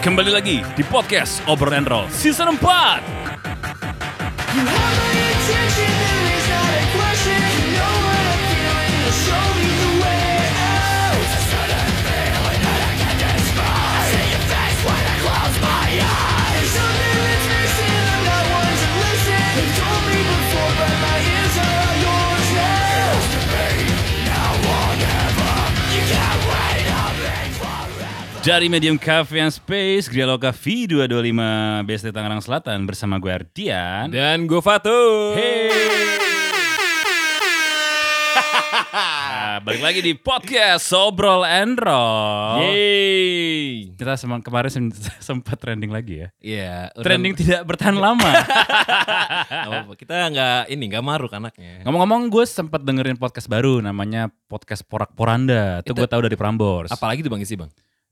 Kembali lagi di podcast Obrol and Roll Season 4 You want my attention, there is not a question. You know what I'm feeling, you'll show me the way out. There's something that's missing, I'm not one to listen. You told me before, but my ears are all yours now. Dari Medium Cafe and Space Grialoka V225 BSD Tangerang Selatan Bersama gue Ardian Dan gue Fatur. Nah, Balik lagi di podcast Obrol and Roll Yeay. Kita sem- kemarin sem- sempat trending lagi ya Iya. udah- Trending tidak bertahan lama Nggak apa-apa. Kita nggak ini nggak maruk anaknya. Ngomong-ngomong gue sempat dengerin podcast baru Namanya podcast Porak Poranda Itu, Itu- gue tahu dari Prambors Apalagi tuh bang isi bang.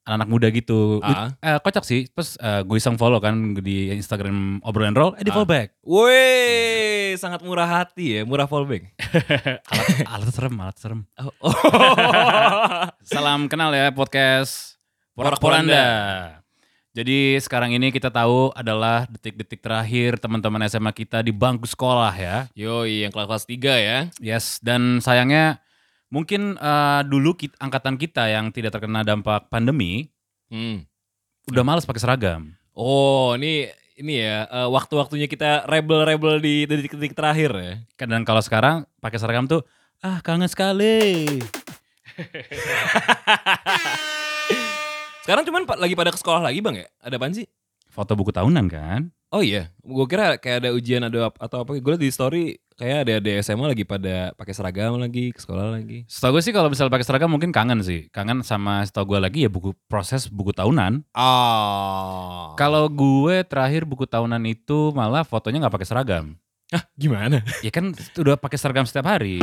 anak muda gitu. Lu- Ah. eh, kocak sih. Terus eh, gue iseng follow kan di Instagram obrolan roll, eh di follow back. Woi, sangat murah hati ya, murah fallback. alat, alat serem, alat serem. Oh, oh. Salam kenal ya podcast Porak Porak Poranda. Jadi sekarang ini kita tahu adalah detik-detik terakhir teman-teman SMA kita di bangku sekolah ya. Yoi, yang kelas kelas 3 ya. Yes, dan sayangnya mungkin eh, dulu kit- angkatan kita yang tidak terkena dampak pandemi Hmm. udah males pakai seragam. Oh, ini ini ya eh, waktu-waktunya kita rebel-rebel di detik-detik terakhir ya. Dan kalau sekarang pakai seragam tuh ah kangen sekali. Sekarang cuman pa- lagi pada ke sekolah lagi bang ya? Ada apaan sih? Foto buku tahunan kan? Oh iya, gue kira kayak ada ujian ada ap- atau apa? Gue liat di story kayak ada ada SMA lagi pada pakai seragam lagi ke sekolah lagi. Setahu gue sih kalau misalnya pakai seragam mungkin kangen sih. Kangen sama setahu gue lagi ya buku proses buku tahunan. Oh. Ah, Kalau gue terakhir buku tahunan itu malah fotonya nggak pakai seragam. gimana? Ya kan udah pakai seragam setiap hari.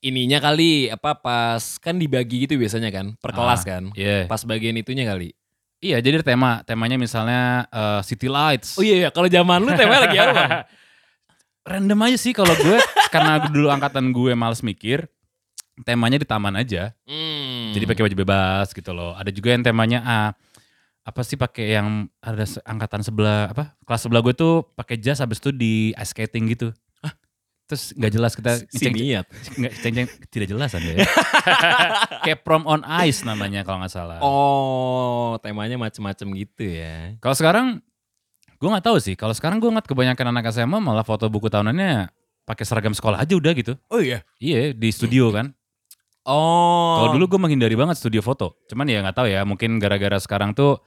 Ininya kali apa pas kan dibagi gitu biasanya kan per kelas Ah, kan. Iya. Pas bagian itunya kali. Iya, jadi tema temanya misalnya eh, City Lights. Oh iya, iya. kalau zaman lu tema lagi apa? Bang? Random aja sih kalau gue karena dulu angkatan gue males mikir temanya di taman aja. Hmm. Jadi pakai baju bebas gitu loh. Ada juga yang temanya ah, apa sih pakai yang ada se- angkatan sebelah apa kelas sebelah gue tuh pakai jas habis itu di ice skating gitu. Terus nggak jelas kita si ceng- niat. nggak ceng- ceng- tidak jelas anda ya. kayak prom on ice namanya kalau nggak salah. Oh, temanya macem-macem gitu ya. Kalau sekarang gue nggak tahu sih. Kalau sekarang gue ngat kebanyakan anak SMA malah foto buku tahunannya pakai seragam sekolah aja udah gitu. Oh iya. Iya di studio kan. Oh. Kalau dulu gue menghindari banget studio foto. Cuman ya nggak tahu ya, mungkin gara-gara sekarang tuh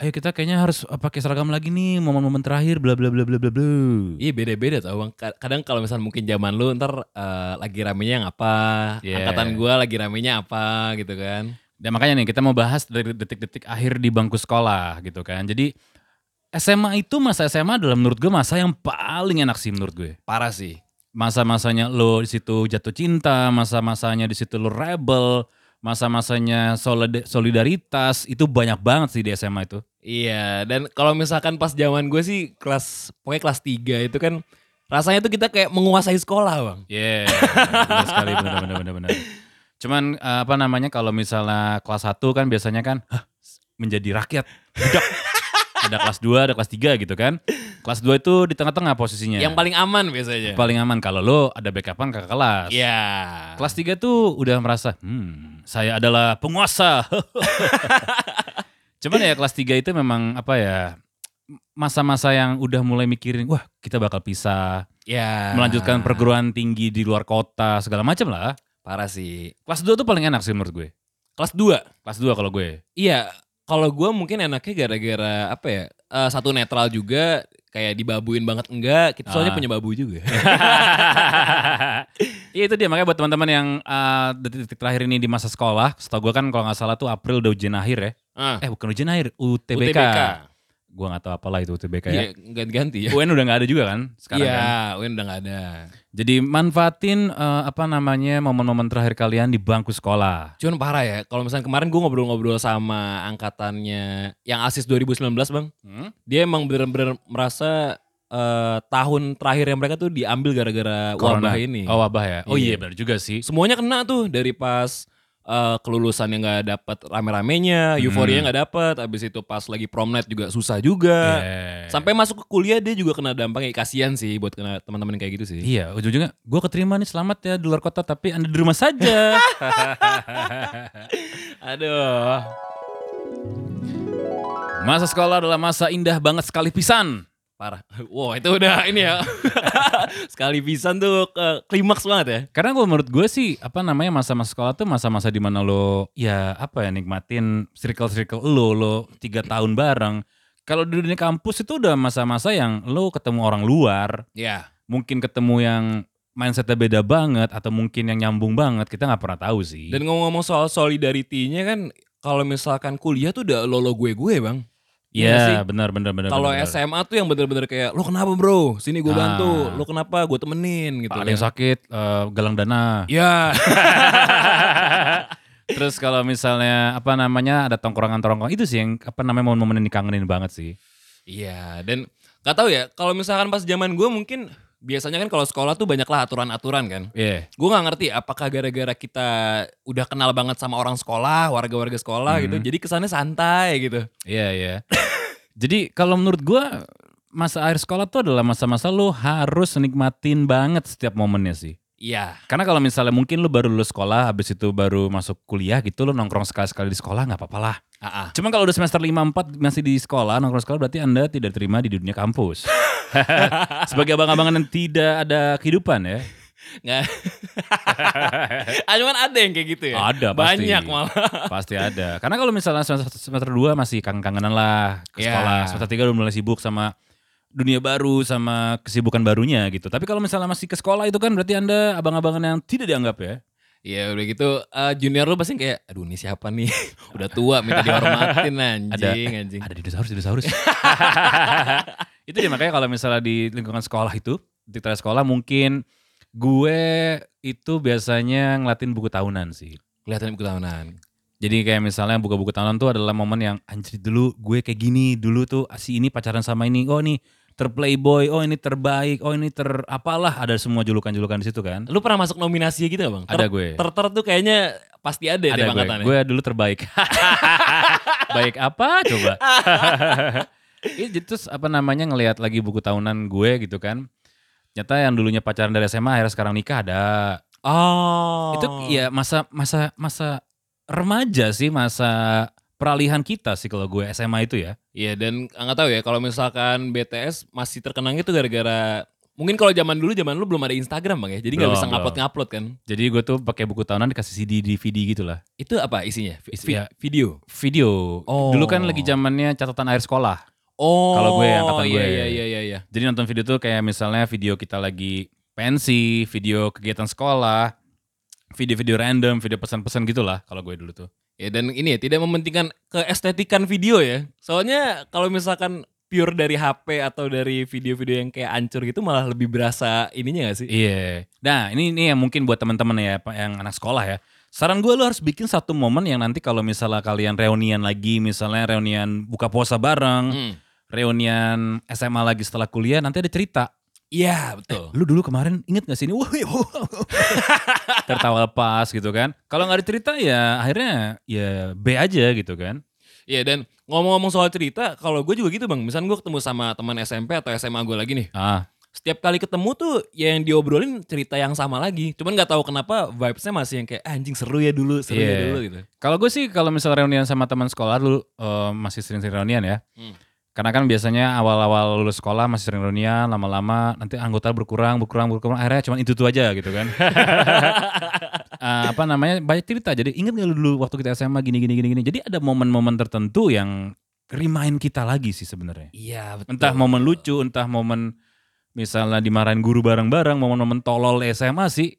ayo kita kayaknya harus eh, pakai seragam lagi nih momen-momen terakhir bla bla bla bla bla bla. Iya beda-beda tau bang. Ka- Kadang kalau misalnya mungkin zaman lu ntar eh, lagi ramenya yang apa, Yeah. angkatan gua lagi ramenya apa gitu kan. Dan Ya, makanya nih kita mau bahas dari detik-detik akhir di bangku sekolah gitu kan. Jadi SMA itu masa SMA adalah menurut gue masa yang paling enak sih menurut gue. Parah sih. Masa-masanya lo di situ jatuh cinta, masa-masanya di situ lo rebel, masa-masanya solid- solidaritas itu banyak banget sih di SMA itu. Iya, dan kalau misalkan pas zaman gue sih kelas pokoknya kelas 3 itu kan rasanya tuh kita kayak menguasai sekolah, Bang. Iya, benar sekali benar benar benar benar. Cuman eh, apa namanya kalau misalnya kelas 1 kan biasanya kan "Hah, menjadi rakyat. Budak. ada kelas 2, ada kelas 3 gitu kan. Kelas 2 itu di tengah-tengah posisinya. Yang paling aman biasanya. paling aman kalau lo ada backupan kakak kelas. Iya. Kelas 3 tuh udah merasa, hmm, saya adalah penguasa. Cuman ya kelas 3 itu memang apa ya, masa-masa yang udah mulai mikirin, wah kita bakal pisah, ya. melanjutkan perguruan tinggi di luar kota, segala macam lah. Parah sih. Kelas 2 tuh paling enak sih menurut gue. Kelas 2. Kelas 2 kalau gue. Iya, kalau gue mungkin enaknya gara-gara apa ya? eh, satu netral juga kayak dibabuin banget enggak. Kita soalnya Ah. punya babu juga. Iya itu dia makanya buat teman-teman yang uh, detik-detik terakhir ini di masa sekolah, setahu gue kan kalau nggak salah tuh April udah ujian akhir ya. Ah, Eh bukan ujian akhir, UTBK. UTBK. Gue nggak tahu apalah itu UTBK ya. Iya, ganti-ganti ya. UN udah nggak ada juga kan sekarang Iya, kan. Win udah gak ada. Jadi manfaatin uh, apa namanya momen-momen terakhir kalian di bangku sekolah. Cuman parah ya, kalau misalnya kemarin gue ngobrol-ngobrol sama angkatannya yang ASIS 2019 bang, dia emang bener-bener merasa eh, tahun terakhir yang mereka tuh diambil gara-gara Corona. wabah ini. Oh wabah ya. Oh iya Iya. benar juga sih. Semuanya kena tuh dari pas eh, eh, kelulusan yang nggak dapat rame-ramenya, Hmm. euforia nggak dapat, abis itu pas lagi prom night juga susah juga. Yeah. Eh, Sampai masuk ke kuliah dia juga kena dampaknya kasihan sih buat kena teman-teman yang kayak gitu sih. Iya, ujung-ujungnya gue keterima nih selamat ya di luar kota tapi anda di rumah saja. Aduh. masa sekolah adalah masa indah banget sekali pisan. Parah. Wow, itu udah ini ya. Sekali pisan tuh ke klimaks banget ya. Karena kalau menurut gue sih apa namanya masa-masa sekolah tuh masa-masa dimana lo ya apa ya nikmatin circle-circle lo lo tiga tahun bareng. Kalau di dunia kampus itu udah masa-masa yang lo ketemu orang luar, Iya. mungkin ketemu yang mindsetnya beda banget atau mungkin yang nyambung banget kita nggak pernah tahu sih. Dan ngomong-ngomong soal solidaritinya kan kalau misalkan kuliah tuh udah lolo gue-gue, Bang. Iya sih. Iya benar benar benar. Kalau benar, benar. SMA tuh yang bener-bener kayak lo kenapa bro? Sini gue bantu. Ah. Lo kenapa? Gue temenin gitu. ada yang kan. sakit eh, galang dana. Ya. Terus kalau misalnya apa namanya ada tongkrongan-tongkrongan itu sih yang apa namanya momen-momen yang dikangenin banget sih. Iya, dan gak tahu ya, kalau misalkan pas zaman gue mungkin biasanya kan kalau sekolah tuh banyaklah aturan-aturan kan. Iya. Gue gak ngerti apakah gara-gara kita udah kenal banget sama orang sekolah, warga-warga Hmm. sekolah gitu, jadi kesannya santai gitu. Iya, iya. Jadi kalau menurut gua masa akhir sekolah tuh adalah masa-masa lu harus nikmatin banget setiap momennya sih. Iya, Karena kalau misalnya mungkin lu baru lulus sekolah, habis itu baru masuk kuliah gitu, lu nongkrong sekali-sekali di sekolah nggak apa-apa lah. ah Cuman kalau udah semester 5-4 masih di sekolah, nongkrong sekolah berarti Anda tidak terima di dunia kampus. Sebagai abang-abangan yang tidak ada kehidupan ya. nggak. ah, cuman ada yang kayak gitu ya. Ada pasti. Banyak malah. Pasti ada. Karena kalau misalnya semester, semester 2 masih kangen-kangenan lah ke Ya. sekolah. Semester 3 udah mulai sibuk sama dunia baru sama kesibukan barunya gitu. Tapi kalau misalnya masih ke sekolah itu kan berarti Anda abang-abangan yang tidak dianggap ya. Iya udah gitu eh, junior lu pasti kayak aduh ini siapa nih udah tua minta dihormatin anjing Ada anjing. Iya. ada dinosaurus, dinosaurus. itu dia makanya kalau misalnya di lingkungan sekolah itu, di teras sekolah mungkin gue itu biasanya ngelatin buku tahunan sih. Kelihatan ikut tahunan. Jadi kayak misalnya buka-buku tahunan tuh adalah momen yang anjir dulu gue kayak gini, dulu tuh si ini pacaran sama ini, oh ini terplayboy, oh ini terbaik, oh ini ter apalah ada semua julukan-julukan di situ kan. Lu pernah masuk nominasi gitu gak bang? Ada gue. Ter, ter tuh kayaknya pasti ada, deh Ada gue, angkatannya. gue dulu terbaik. Baik apa coba? Iya jadi terus apa namanya ngelihat lagi buku tahunan gue gitu kan. Nyata yang dulunya pacaran dari SMA akhirnya sekarang nikah ada. Oh. Itu ya masa masa masa remaja sih, masa peralihan kita sih kalau gue SMA itu ya. Iya dan nggak tahu ya kalau misalkan BTS masih terkenangnya tuh gara-gara mungkin kalau zaman dulu zaman lu belum ada Instagram bang ya, jadi nggak Belum, bisa belum. ngupload ngupload kan? Jadi gue tuh pakai buku tahunan dikasih CD DVD gitu lah. Itu apa isinya? Vi- Isi- vi- ya. Video. Video. Oh. Dulu kan lagi zamannya catatan akhir sekolah. Oh. Kalau gue, angkatan iya, gue. Iya iya iya iya. Jadi nonton video tuh kayak misalnya video kita lagi pensi, video kegiatan sekolah, video-video random, video pesan-pesan gitulah kalau gue dulu tuh. Ya dan ini ya tidak mementingkan keestetikan video ya. Soalnya kalau misalkan pure dari HP atau dari video-video yang kayak ancur gitu malah lebih berasa ininya gak sih? Iya. Nah, ini ini yang mungkin buat teman-teman ya Pak, yang anak sekolah ya. Saran gue lu harus bikin satu momen yang nanti kalau misalnya kalian reunian lagi, misalnya reunian buka puasa bareng, Hmm. reunian SMA lagi setelah kuliah, nanti ada cerita. Iya betul. Lu dulu kemarin inget gak sih ini? Wah, wah, wah. Tertawa lepas gitu kan. Kalau nggak ada cerita ya akhirnya ya B aja gitu kan. Iya dan ngomong-ngomong soal cerita, kalau gue juga gitu bang. Misalnya gue ketemu sama teman SMP atau SMA gue lagi nih. Ah, Setiap kali ketemu tuh ya yang diobrolin cerita yang sama lagi. Cuman nggak tahu kenapa vibesnya masih yang kayak "Ah, anjing seru ya dulu, seru ya Iya. dulu gitu. Kalau gue sih kalau misal reunian sama teman sekolah dulu eh, masih sering-sering reunian ya. Hmm. Karena kan biasanya awal-awal lulus sekolah masih sering reunian, lama-lama nanti anggota berkurang, berkurang, berkurang, akhirnya cuma itu tuh aja gitu kan. Eh, apa namanya banyak cerita. Jadi inget gak lu dulu waktu kita SMA gini gini gini gini. Jadi ada momen-momen tertentu yang remind kita lagi sih sebenarnya. Iya betul. Entah momen lucu, entah momen misalnya dimarahin guru bareng-bareng, momen-momen tolol SMA sih.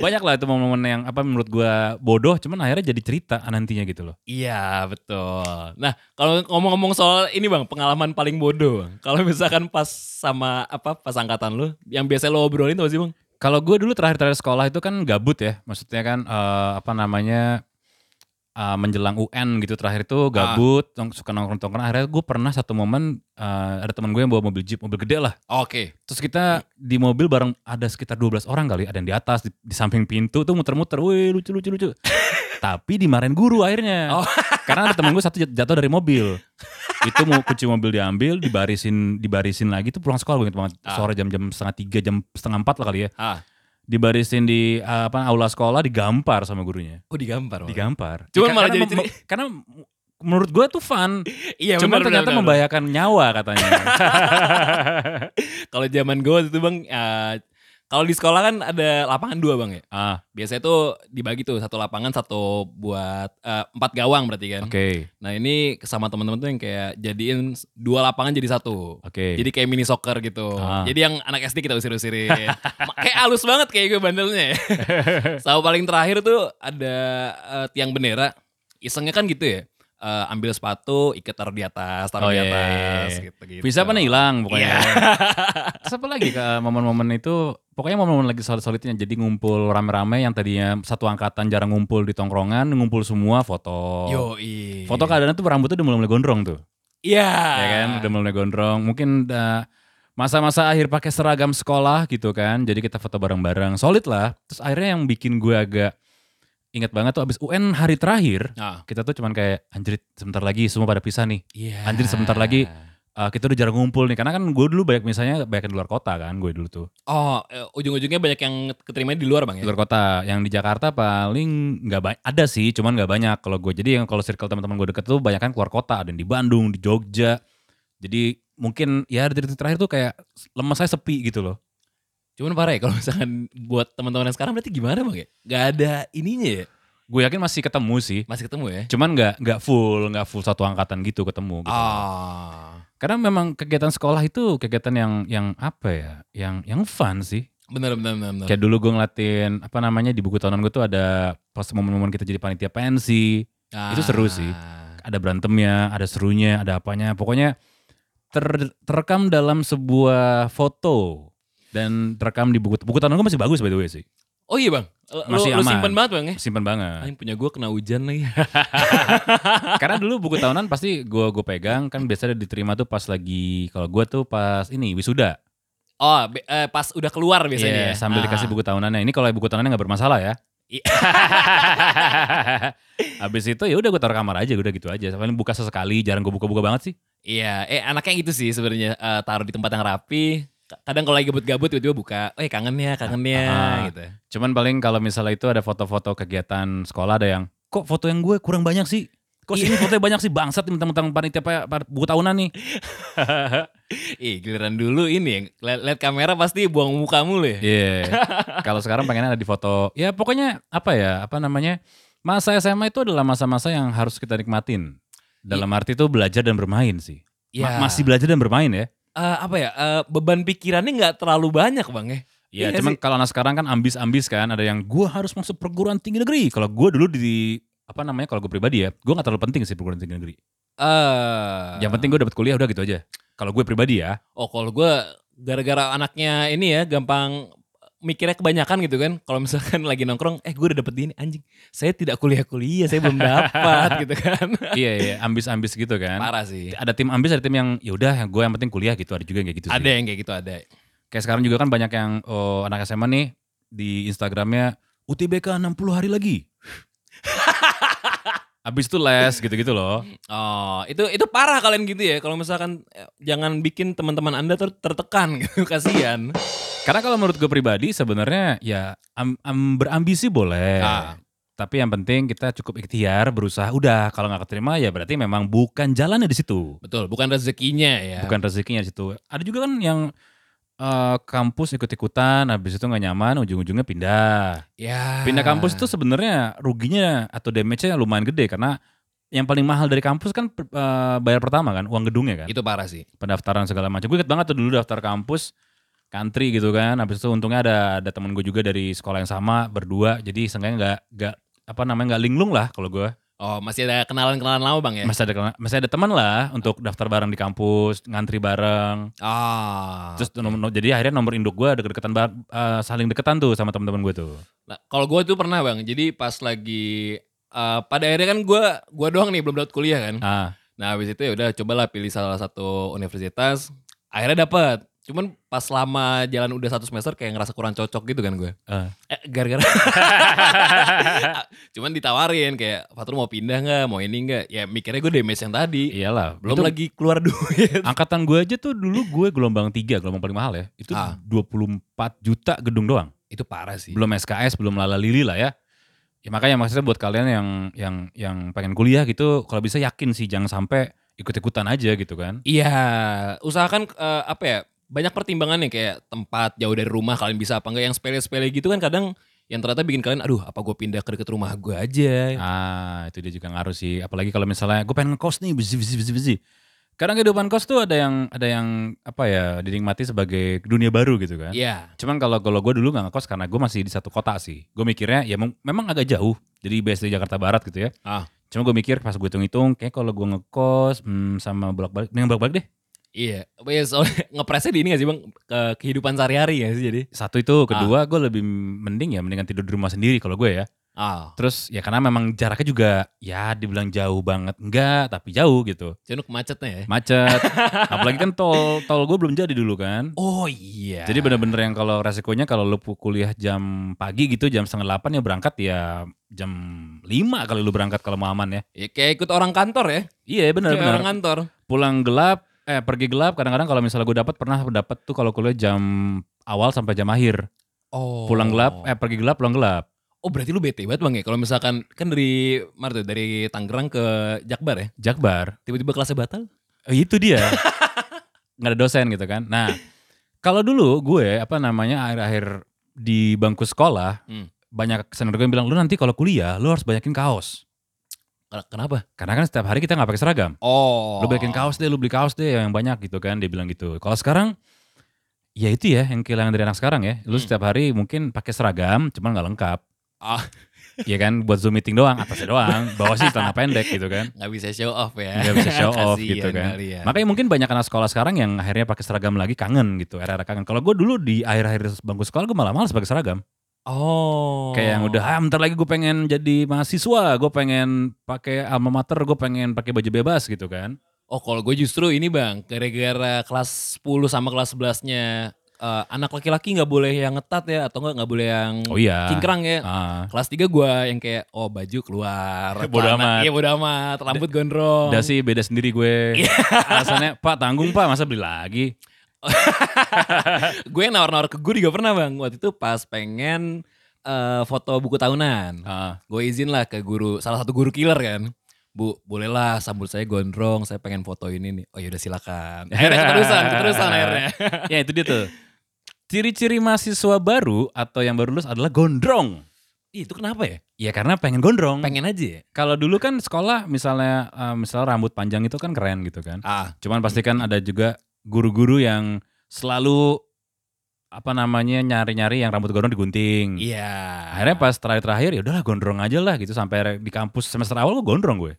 Banyak lah itu momen-momen yang apa menurut gua bodoh, cuman akhirnya jadi cerita nantinya gitu loh. Iya betul. Nah kalau ngomong-ngomong soal ini bang, pengalaman paling bodoh. Bang. Kalau misalkan pas sama apa pas angkatan lu, yang biasa lo obrolin tau sih bang? Kalau gue dulu terakhir-terakhir sekolah itu kan gabut ya, maksudnya kan eh, apa namanya uh, menjelang UN gitu terakhir itu gabut nong- suka nongkrong nongkrong akhirnya gue pernah satu momen uh, ada teman gue yang bawa mobil jeep mobil gede lah Oke. terus kita di mobil bareng ada sekitar 12 orang kali ada yang di atas di, di samping pintu tuh muter-muter woi lucu lucu lucu tapi dimarahin guru Oh. akhirnya karena ada temen gue satu jat- jatuh dari mobil itu mau kunci mobil diambil dibarisin dibarisin lagi tuh pulang sekolah gue inget banget Ah. sore jam-jam setengah tiga jam setengah empat lah kali ya Ah. dibarisin di uh, apa aula sekolah digampar sama gurunya Oh digambar. Bang. digampar. Cuman Ya, malah karena jadi mem- karena menurut gue tuh fun. Iya Cuman benar, ternyata benar, benar. membahayakan nyawa katanya. Kalau zaman gue waktu itu bang, eh, kalau di sekolah kan ada lapangan dua bang ya. ah, Biasanya tuh dibagi tuh satu lapangan satu buat eh, empat gawang berarti kan. oke. Nah ini sama teman-teman tuh yang kayak jadiin dua lapangan jadi satu. Oke. Jadi kayak mini soccer gitu. Ah. Jadi yang anak SD kita usir-usirin. Ma- kayak halus banget kayak gue bandelnya. Sama paling terakhir tuh ada eh, tiang bendera. Isengnya kan gitu ya. Eh, ambil sepatu, ikat taruh di atas, Oh, taruh di iya, iya, atas iya. gitu-gitu. Bisa apa nih hilang Iya. pokoknya. Terus apa lagi ke momen-momen itu pokoknya momen-momen lagi solid-solidnya jadi ngumpul rame-rame yang tadinya satu angkatan jarang ngumpul di tongkrongan, ngumpul semua foto. Yoi. Oh. Foto keadaan tuh rambutnya udah mulai-mulai gondrong tuh. Iya. ya kan udah mulai gondrong mungkin uh, masa-masa akhir pakai seragam sekolah gitu kan jadi kita foto bareng-bareng solid lah terus akhirnya yang bikin gue agak ingat banget tuh abis UN hari terakhir Nah, kita tuh cuman kayak anjir sebentar lagi semua pada pisah nih iya. Anjir, sebentar lagi. Uh, kita udah jarang ngumpul nih karena kan gue dulu banyak misalnya banyak di luar kota kan gue dulu tuh Oh, eh, ujung-ujungnya banyak yang keterima di luar bang ya? luar kota yang di Jakarta paling nggak banyak ada sih cuman nggak banyak kalau gue jadi yang kalau circle teman-teman gue deket tuh banyak kan keluar kota ada yang di Bandung di Jogja jadi mungkin ya dari titik terakhir tuh kayak lemes saya sepi gitu loh Cuman parah ya kalau misalkan buat teman-teman yang sekarang berarti gimana bang ya? Gak ada ininya ya? gue yakin masih ketemu sih Masih ketemu ya? cuman nggak nggak full nggak full satu angkatan gitu ketemu gitu. Ah, karena memang kegiatan sekolah itu kegiatan yang yang apa ya yang yang fun sih benar benar benar. benar. kayak dulu gue ngelatin apa namanya di buku tahunan gue tuh ada pas momen-momen kita jadi panitia pensi Ah. itu seru sih. ada berantemnya, ada serunya, ada apanya. Pokoknya ter- terekam dalam sebuah foto dan terekam di buku buku tanah gue masih bagus by the way sih. Oh iya bang, L- Masih lu, lu aman. Nah. simpen banget bang ya. Simpen banget. Yang punya gue kena hujan lagi. Karena dulu buku tahunan pasti gue gue pegang kan biasanya diterima tuh pas lagi kalau gue tuh pas ini wisuda. Oh, be- eh, pas udah keluar biasanya. Iya, ya? Iya. sambil Ah. dikasih buku tahunannya. Ini kalau buku tahunannya nggak bermasalah ya. I- Habis itu ya udah gue taruh kamar aja udah gitu aja. Paling buka sesekali, jarang gue buka-buka banget sih. Iya, eh anaknya gitu sih sebenarnya Eh, taruh di tempat yang rapi. Ka- Kadang kalau lagi gabut-gabut tiba-tiba buka, eh kangennya, kangennya Ah. gitu. Cuman paling kalau misalnya itu ada foto-foto kegiatan sekolah ada yang kok foto yang gue kurang banyak sih. Kok Iya. sini fotonya banyak sih bangsat nih, mentang-mentang panitia pa- pa- buku tahunan nih. Ih, giliran dulu ini ya. Lihat lihat kamera pasti buang muka mulu ya. Iya. kalau sekarang pengennya ada di foto. Ya pokoknya apa ya? Apa namanya? Masa SMA itu adalah masa-masa yang harus kita nikmatin. Dalam arti itu belajar dan bermain sih. Iya. Ma- masih belajar dan bermain ya. Eh, apa ya? eh, beban pikirannya nggak terlalu banyak, Bang ya. Ya, Iya cuman kalau anak sekarang kan ambis-ambis kan, ada yang gua harus masuk perguruan tinggi negeri. Kalau gua dulu di apa namanya kalau gue pribadi ya, gua nggak terlalu penting sih perguruan tinggi negeri. Eh, Yang penting gue dapat kuliah udah gitu aja. Kalau gue pribadi ya. Oh kalau gue gara-gara anaknya ini ya gampang mikirnya kebanyakan gitu kan. Kalau misalkan lagi nongkrong, eh gue udah dapet ini anjing. Saya tidak kuliah-kuliah, saya belum dapat gitu kan. iya iya, ambis-ambis gitu kan. Parah sih. Ada tim ambis, ada tim yang ya udah yang gue yang penting kuliah gitu. Ada juga yang kayak gitu Ada sih. yang kayak gitu ada. Kayak sekarang juga kan banyak yang oh, anak SMA nih di Instagramnya UTBK 60 hari lagi. Abis itu les gitu-gitu loh. Oh itu itu parah kalian gitu ya. Kalau misalkan eh, jangan bikin teman-teman anda ter- tertekan gitu, kasihan. Karena kalau menurut gue pribadi sebenarnya ya am- am- berambisi boleh. Ah. Tapi yang penting kita cukup ikhtiar, berusaha. Udah kalau nggak keterima ya berarti memang bukan jalannya di situ. Betul, bukan rezekinya ya. bukan rezekinya di situ. Ada juga kan yang eh, kampus ikut-ikutan, habis itu nggak nyaman, ujung-ujungnya pindah. Ya. Pindah kampus itu sebenarnya ruginya atau damage-nya lumayan gede karena yang paling mahal dari kampus kan per- eh, bayar pertama kan, uang gedungnya kan, itu parah sih. pendaftaran segala macam. Gue inget banget tuh dulu daftar kampus country gitu kan, habis itu untungnya ada ada temen gue juga dari sekolah yang sama berdua, jadi seenggaknya nggak nggak apa namanya nggak linglung lah kalau gue Oh masih ada kenalan-kenalan lama bang ya. masih ada kena- masih ada teman lah untuk daftar bareng di kampus ngantri bareng Ah. Terus nomor- no- jadi akhirnya nomor induk gue deket-deketan ba- eh, saling deketan tuh sama teman-teman gue tuh. Nah, kalau gue tuh pernah bang, jadi pas lagi eh, pada akhirnya kan gue gua doang nih belum dapat kuliah kan. Ah, Nah habis itu ya udah cobalah pilih salah satu universitas. Akhirnya dapat. Cuman pas lama jalan udah satu semester kayak ngerasa kurang cocok gitu kan gue. ah. Eh, gara-gara. Cuman ditawarin kayak Fatur mau pindah nggak, mau ini nggak? Ya mikirnya gue damage yang tadi. iyalah. Belum Itu lagi keluar duit. Angkatan gue aja tuh dulu gue gelombang 3, gelombang paling mahal ya. Itu Ah. 24 juta gedung doang. itu parah sih. Belum SKS, belum lala lili lah ya. Ya makanya maksudnya buat kalian yang yang yang pengen kuliah gitu, kalau bisa yakin sih jangan sampai ikut-ikutan aja gitu kan. Iya, usahakan eh, apa ya? Banyak pertimbangannya kayak tempat jauh dari rumah kalian bisa apa enggak yang sepele-sepele gitu kan kadang yang ternyata bikin kalian aduh apa gue pindah ke deket rumah gue aja. Ah, itu dia juga ngaruh sih. Apalagi kalau misalnya gue pengen ngekos nih, besi besi besi besi. Kadang kehidupan kos tuh ada yang ada yang apa ya dinikmati sebagai dunia baru gitu kan. Iya. Cuman kalau kalau gue dulu nggak ngekos karena gue masih di satu kota sih. Gue mikirnya ya mem- memang agak jauh. Jadi BSD Jakarta Barat gitu ya. Ah. Cuma gue mikir pas gue hitung-hitung kayak kalau gue ngekos hmm, sama bolak-balik, mending bolak-balik deh. Iya. Apa ya, soalnya ngepresnya di ini gak sih Bang? Ke kehidupan sehari-hari ya sih jadi. Satu itu, kedua gue lebih mending ya mendingan tidur di rumah sendiri kalau gue ya. Ah, Terus ya karena memang jaraknya juga ya dibilang jauh banget enggak, tapi jauh gitu. jenuh macetnya ya. Macet. Apalagi kan tol tol gue belum jadi dulu kan. Oh iya. Jadi bener-bener yang kalau resikonya kalau lu pu- kuliah jam pagi gitu jam setengah delapan ya berangkat ya jam lima kali lu berangkat kalau mau aman ya. Ya, kayak ikut orang kantor ya. Iya Kayak bener-bener. orang kantor. Pulang gelap, eh pergi gelap kadang-kadang kalau misalnya gue dapat pernah dapat tuh kalau kuliah jam awal sampai jam akhir. Oh. Pulang gelap, eh pergi gelap, pulang gelap. Oh berarti lu bete banget bang ya kalau misalkan kan dari Marto dari Tangerang ke Jakbar ya Jakbar. tiba-tiba kelasnya batal? Eh, itu dia. nggak ada dosen gitu kan. Nah, kalau dulu gue apa namanya akhir-akhir di bangku sekolah Hmm. banyak senior gue yang bilang lu nanti kalau kuliah lu harus banyakin kaos. Ken- Kenapa? Karena kan setiap hari kita nggak pakai seragam. Oh. lu bikin kaos deh, lu beli kaos deh yang banyak gitu kan, dia bilang gitu. Kalau sekarang, ya itu ya yang kehilangan dari anak sekarang ya. Lu Hmm. setiap hari mungkin pakai seragam, cuman nggak lengkap. Ah. Iya kan, buat zoom meeting doang, atasnya doang, bawah sih celana pendek gitu kan. nggak bisa show off ya. Nggak bisa show off Kasian gitu kan. kalian. Makanya mungkin banyak anak sekolah sekarang yang akhirnya pakai seragam lagi kangen gitu, era-era kangen. Kalau gue dulu di akhir-akhir bangku sekolah gue malah males pakai seragam. oh. Kayak yang udah, ah bentar lagi gue pengen jadi mahasiswa, gue pengen pakai alma mater, gue pengen pakai baju bebas gitu kan. Oh kalau gue justru ini bang gara-gara kelas 10 sama kelas 11-nya eh, anak laki-laki nggak boleh yang ketat ya atau nggak nggak boleh yang Oh iya. cingkrang ya. Ah. Kelas 3 gue yang kayak oh baju keluar. Bodo celana- amat. Iya bodo amat. Rambut gondrong. Udah sih beda sendiri gue. Alasannya, Pak tanggung Pak, masa beli lagi? gue yang nawar-nawar ke gue juga pernah bang waktu itu pas pengen eh, foto buku tahunan Ah, gue izin lah ke guru salah satu guru killer kan bu bolehlah sambut saya gondrong saya pengen foto ini nih oh yaudah silakan akhirnya keterusan keterusan akhirnya ya itu dia tuh. Ciri-ciri mahasiswa baru atau yang baru lulus adalah gondrong. Ih, itu kenapa ya Ya karena pengen gondrong. pengen aja ya Kalau dulu kan sekolah misalnya eh, misalnya rambut panjang itu kan keren gitu kan. ah Cuman pasti kan ada juga guru-guru yang selalu apa namanya nyari-nyari yang rambut gondrong digunting. iya Akhirnya pas terakhir-terakhir ya udahlah gondrong aja lah gitu sampai di kampus semester awal gue gondrong gue.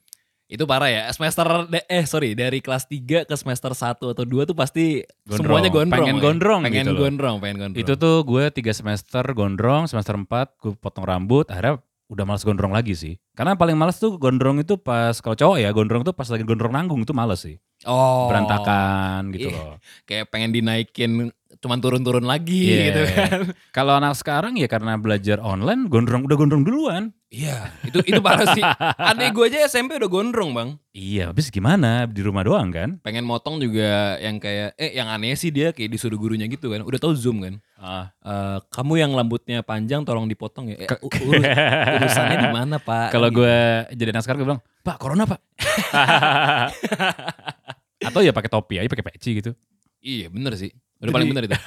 itu parah ya semester da- eh sorry dari kelas 3 ke semester 1 atau 2 tuh pasti Gondrong. semuanya gondrong Pengen ya. gondrong pengen gitu loh. gondrong pengen gondrong Itu tuh gue tiga semester gondrong, semester 4 gue potong rambut, akhirnya udah males gondrong lagi sih. Karena paling males tuh gondrong itu pas, kalau cowok ya gondrong tuh pas lagi gondrong nanggung tuh males sih. oh Berantakan gitu Iya. loh. kayak pengen dinaikin cuman turun-turun lagi Iya. gitu kan Kalau anak sekarang ya karena belajar online, gondrong udah gondrong duluan. Iya, itu itu parah sih. Adik gue aja SMP udah gondrong bang. Iya, habis gimana? Di rumah doang kan? Pengen motong juga yang kayak, eh yang aneh sih dia kayak disuruh gurunya gitu kan. Udah tau zoom kan. Ah, Eh, kamu yang rambutnya panjang tolong dipotong ya. Eh, u- urus- urusannya di mana pak? Kalau Gitu. gue jadi anak sekarang gue bilang, Pak, corona pak. Atau ya pakai topi aja, pakai peci gitu. iya bener sih. Udah Jadi- paling bener itu.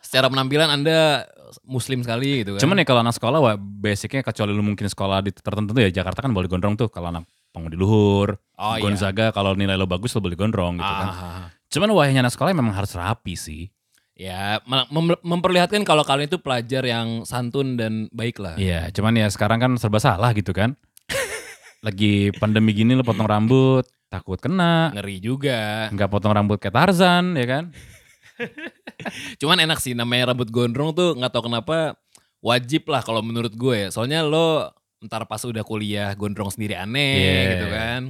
Secara penampilan anda muslim sekali gitu kan. Cuman ya kalau anak sekolah wah, basicnya kecuali lu mungkin sekolah di tertentu ya Jakarta kan boleh gondrong tuh kalau anak pengundi luhur, oh, iya. Gonzaga kalau nilai lo bagus lo boleh gondrong gitu kan. Ah, Cuman wayahnya anak sekolah memang harus rapi sih. ya mel- mem- memperlihatkan kalau kalian itu pelajar yang santun dan baik lah. Iya, cuman ya sekarang kan serba salah gitu kan. Lagi pandemi gini lo potong rambut, takut kena, Ngeri juga. nggak potong rambut kayak Tarzan ya kan. Cuman enak sih namanya rambut gondrong tuh nggak tahu kenapa wajib lah kalau menurut gue. ya. Soalnya lo ntar pas udah kuliah gondrong sendiri Yeah. aneh gitu kan.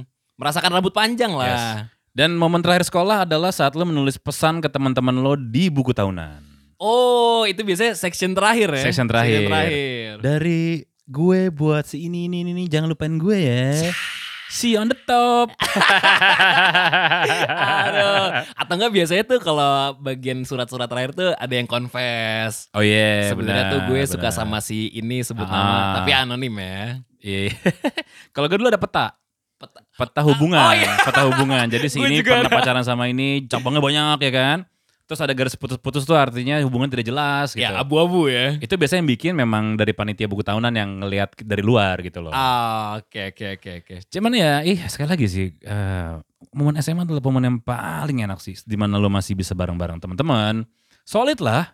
Merasakan rambut panjang lah. Dan momen terakhir sekolah adalah saat lo menulis pesan ke teman-teman lo di buku tahunan. Oh, itu biasanya section terakhir ya. Section terakhir. terakhir. Dari gue buat si ini, ini, ini, ini, jangan lupain gue ya. See you on the top. Aduh. Atau enggak biasanya tuh kalau bagian surat-surat terakhir tuh ada yang confess. Oh iya, Sebenarnya benar, tuh gue benar. suka sama si ini sebut Ah. nama, tapi anonim ya. Iya. Kalau gue dulu ada peta. Peta- Peta hubungan, Oh, iya. peta hubungan. Jadi si Gue ini juga pernah pacaran sama ini, cabangnya banyak ya kan. Terus ada garis putus-putus tuh artinya hubungan tidak jelas gitu. Ya abu-abu ya. itu biasanya yang bikin memang dari panitia buku tahunan yang ngelihat dari luar gitu loh. Ah, oke oke oke oke. Cuman ya, ih sekali lagi sih, eh, momen SMA adalah momen yang paling enak sih, dimana lo masih bisa bareng-bareng teman-teman. Solid lah.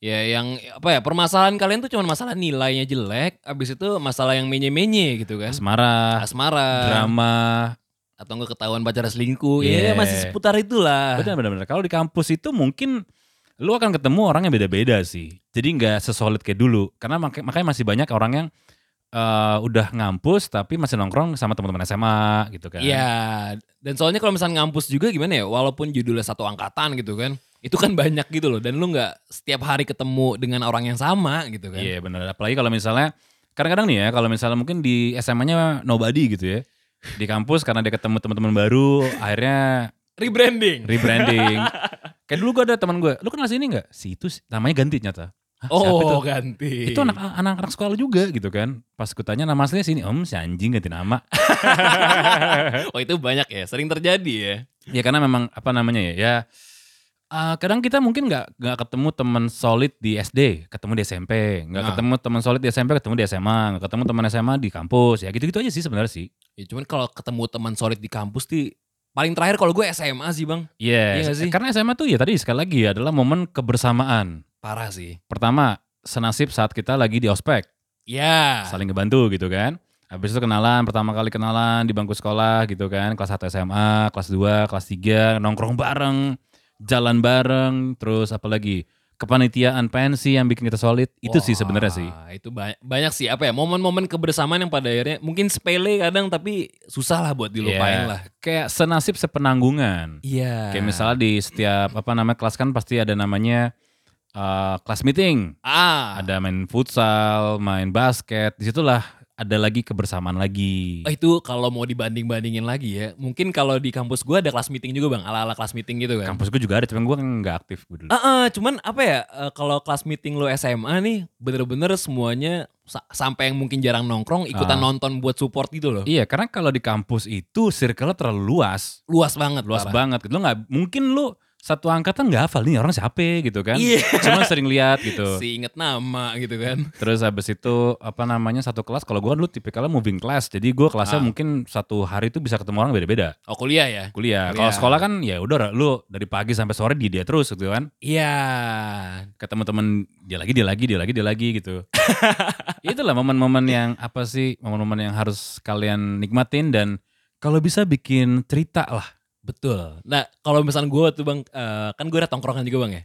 Ya yang apa ya permasalahan kalian tuh cuma masalah nilainya jelek, abis itu masalah yang menye-menye gitu kan. Asmara, Asmara drama. atau enggak ketahuan pacar selingkuh. Yeah. Ya masih seputar itulah. Benar-benar. Kalau di kampus itu mungkin lo akan ketemu orang yang beda-beda sih. Jadi nggak sesolid kayak dulu. Karena mak- makanya masih banyak orang yang eh, udah ngampus tapi masih nongkrong sama teman-teman SMA gitu kan. Iya, dan soalnya kalau misalnya ngampus juga gimana ya, walaupun judulnya satu angkatan gitu kan, itu kan banyak gitu loh, dan lu nggak setiap hari ketemu dengan orang yang sama gitu kan. Iya benar. Apalagi kalau misalnya kadang-kadang nih ya kalau misalnya mungkin di SMA-nya nobody gitu ya. Di kampus karena dia ketemu teman-teman baru akhirnya Rebranding. rebranding. Kayak dulu gue ada teman gue, lu kenal sini nggak? Si itu si- namanya ganti nyata. Hah, siapa itu? oh, ganti. Itu anak anak anak sekolah juga gitu kan. Pas kutanya nama aslinya sini, om si anjing ganti nama. Oh, itu banyak ya, sering terjadi ya. ya karena memang apa namanya ya, ya eh, kadang kita mungkin nggak nggak ketemu teman solid di SD, ketemu di SMP, nggak Nah. ketemu teman solid di SMP, ketemu di SMA, nggak ketemu teman SMA di kampus, ya gitu-gitu aja sih sebenarnya sih. Ya, cuman kalau ketemu teman solid di kampus di paling terakhir kalau gue SMA sih bang, Iya Yes. nggak sih? Karena SMA tuh ya tadi sekali lagi ya, adalah momen kebersamaan. parah sih. Pertama, senasib saat kita lagi di ospek, Ya. saling ngebantu gitu kan. Habis itu kenalan, pertama kali kenalan di bangku sekolah gitu kan, kelas 1 SMA, kelas 2, kelas 3, nongkrong bareng, jalan bareng, terus apalagi kepanitiaan pensi yang bikin kita solid, itu sih Wah, sebenarnya sih. Itu ba- banyak sih apa ya momen-momen kebersamaan yang pada akhirnya mungkin sepele kadang tapi susah lah buat Iya. dilupain lah. Kayak senasib sepenanggungan. Iya. Kayak misalnya di setiap apa namanya kelas kan pasti ada namanya eh, kelas meeting. ah ada main futsal, main basket, disitulah ada lagi kebersamaan lagi. Oh, itu kalau mau dibanding-bandingin lagi ya, mungkin kalau di kampus gua ada kelas meeting juga bang, ala-ala kelas meeting gitu kan. Kampus gue juga ada, cuman gue nggak aktif gue dulu. Ah, ah, cuman apa ya, eh, kalau kelas meeting lo SMA nih, bener-bener semuanya sa- sampai yang mungkin jarang nongkrong Ah. ikutan nonton buat support gitu loh. Iya, karena kalau di kampus itu circle-nya terlalu luas, Luas banget, luas parah. banget. gitu. Lu nggak mungkin lu satu angkatan nggak hafal nih orang siapa gitu kan? Iya. Cuman sering lihat gitu. Si inget nama gitu kan. Terus habis itu apa namanya satu kelas? Kalau gue dulu tipikalnya moving class, jadi gue kelasnya Ah. mungkin satu hari itu bisa ketemu orang beda-beda. Oh kuliah ya? Kuliah. Kuliah. Kalau sekolah kan ya udah lu dari pagi sampai sore dia dia terus gitu kan? Iya. ke teman-teman dia lagi dia lagi dia lagi dia lagi gitu itulah momen-momen yang apa sih momen-momen yang harus kalian nikmatin dan kalau bisa bikin cerita lah Betul. Nah kalau misalnya gue tuh bang, eh, kan gue ada tongkrongan juga bang ya.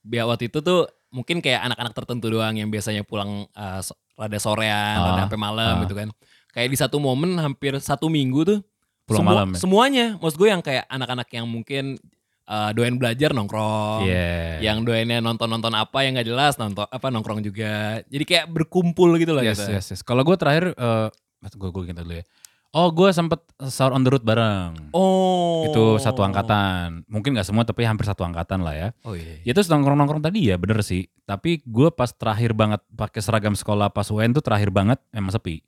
Biar waktu itu tuh mungkin kayak anak-anak tertentu doang yang biasanya pulang eh, so- rada sorean, Ah, rada sampai malam ah. gitu kan. Kayak di satu momen hampir satu minggu tuh. pulang semua- malam ya Semuanya, maksud gue yang kayak anak-anak yang mungkin eh, doain Oh, belajar nongkrong. Iya. yeah. Yang doainnya nonton-nonton apa yang gak jelas nonton apa nongkrong juga. Jadi kayak berkumpul gitu loh yes, gitu. yes, yes. kalau gue terakhir eh gue gue ingat dulu ya oh gue sempet sahur on the road bareng Oh. itu satu angkatan mungkin nggak semua tapi hampir satu angkatan lah ya Oh iya. ya terus nongkrong nongkrong tadi ya bener sih tapi gue pas terakhir banget pakai seragam sekolah pas UN tuh terakhir banget emang sepi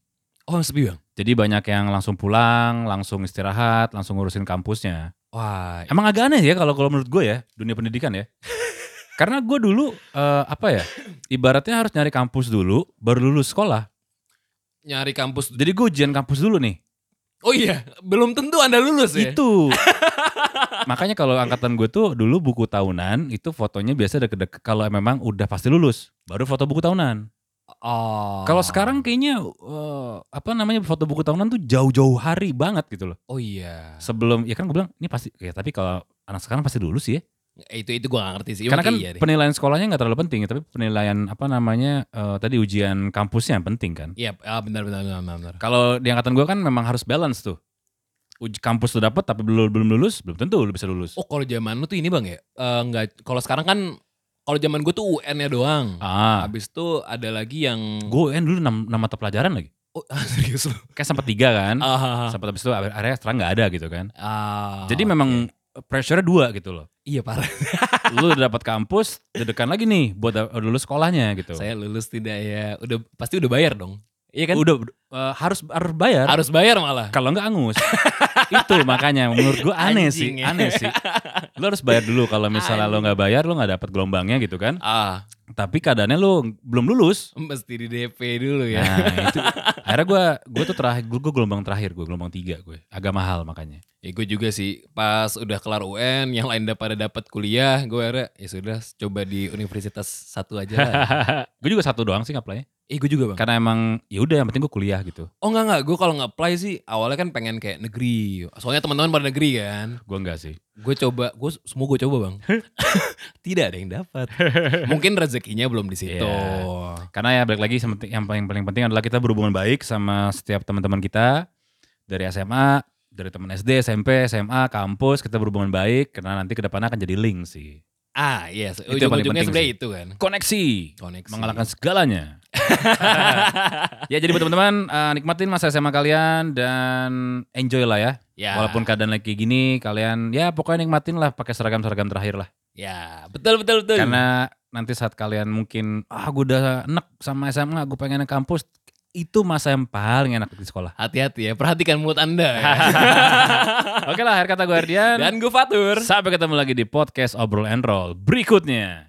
Oh sepi bang. Jadi banyak yang langsung pulang, langsung istirahat, langsung ngurusin kampusnya. Wah. Emang agak aneh ya kalau kalau menurut gue ya dunia pendidikan ya. Karena gue dulu eh, apa ya, ibaratnya harus nyari kampus dulu, baru lulus sekolah. Nyari kampus. Jadi gue ujian kampus dulu nih. Oh iya. Belum tentu anda lulus ya. Itu. Makanya kalau angkatan gue tuh dulu buku tahunan itu fotonya biasa deket-deket kalau memang udah pasti lulus, baru foto buku tahunan. Oh. Kalau sekarang kayaknya eh, apa namanya foto buku tahunan tuh jauh-jauh hari banget gitu loh. Oh iya. sebelum ya kan gue bilang ini pasti ya tapi kalau anak sekarang pasti dulu sih ya Eh, Itu itu gue gak ngerti sih. Karena kan Mungkin iya deh. penilaian sekolahnya nggak terlalu penting, ya, tapi penilaian apa namanya eh, tadi ujian kampusnya yang penting kan. Iya, ah, benar benar benar benar. benar. Kalau di angkatan gue kan memang harus balance tuh. Uj- kampus tuh dapat tapi belum belum lulus, belum tentu lu bisa lulus. Oh, kalau zaman lu tuh ini Bang ya. Eh enggak kalau sekarang kan kalau zaman gue tuh UN-nya doang. Ah, Habis itu ada lagi yang gue UN dulu 6, mata pelajaran lagi. Oh, serius lu. Kayak sempat tiga kan, Ah, sempat habis itu akhirnya setelah nggak ada gitu kan. ah, Jadi memang pressure-nya dua gitu loh. iya parah. Lu udah dapat kampus, dedekan lagi nih buat da- lulus sekolahnya gitu. Saya lulus tidak ya. Udah pasti udah bayar dong. Iya kan? Udah eh, harus harus bayar. Harus bayar malah. Kalau nggak angus. itu makanya menurut gue aneh sih, Anjing ya. aneh sih. Lu harus bayar dulu kalau misalnya lu nggak bayar lu nggak dapat gelombangnya gitu kan. Ah, Tapi keadaannya lu belum lulus. mesti di DP dulu ya. Nah, itu akhirnya gue gue tuh terakhir gue gelombang terakhir gue gelombang tiga gue agak mahal makanya. Ya gue juga sih pas udah kelar UN yang lain udah pada dapat kuliah gue akhirnya ya sudah coba di universitas satu aja lah. gue juga satu doang sih ngapainnya. eh gue juga bang. Karena emang ya udah yang penting gue kuliah gitu. Oh enggak enggak gue kalau nggak apply sih awalnya kan pengen kayak negeri. Soalnya teman-teman pada negeri kan. Gue enggak sih. Gue coba gue semua gue coba bang. Tidak ada yang dapat. Mungkin rezekinya belum di situ. Iya. Karena ya balik lagi yang penting- yang paling paling penting adalah kita berhubungan baik sama setiap teman-teman kita dari SMA, dari teman SD, SMP, SMA, kampus kita berhubungan baik karena nanti kedepannya akan jadi link sih. Ah yang iya. paling Ujung-ujungnya penting sebenarnya sih. itu kan. Koneksi, Koneksi. mengalahkan segalanya. ya jadi buat teman-teman eh, nikmatin masa SMA kalian dan enjoy lah ya. Ya. Walaupun keadaan lagi gini kalian ya pokoknya nikmatin lah pakai seragam-seragam terakhir lah. Ya betul betul betul. Karena nanti saat kalian mungkin ah gue udah enek sama SMA, gue pengen ke kampus, itu masa yang paling enak di sekolah. Hati-hati ya perhatikan mulut anda. ya. Oke lah, akhir kata gue Ardian. Dan gue Fatur. sampai ketemu lagi di podcast Obrol and Roll berikutnya.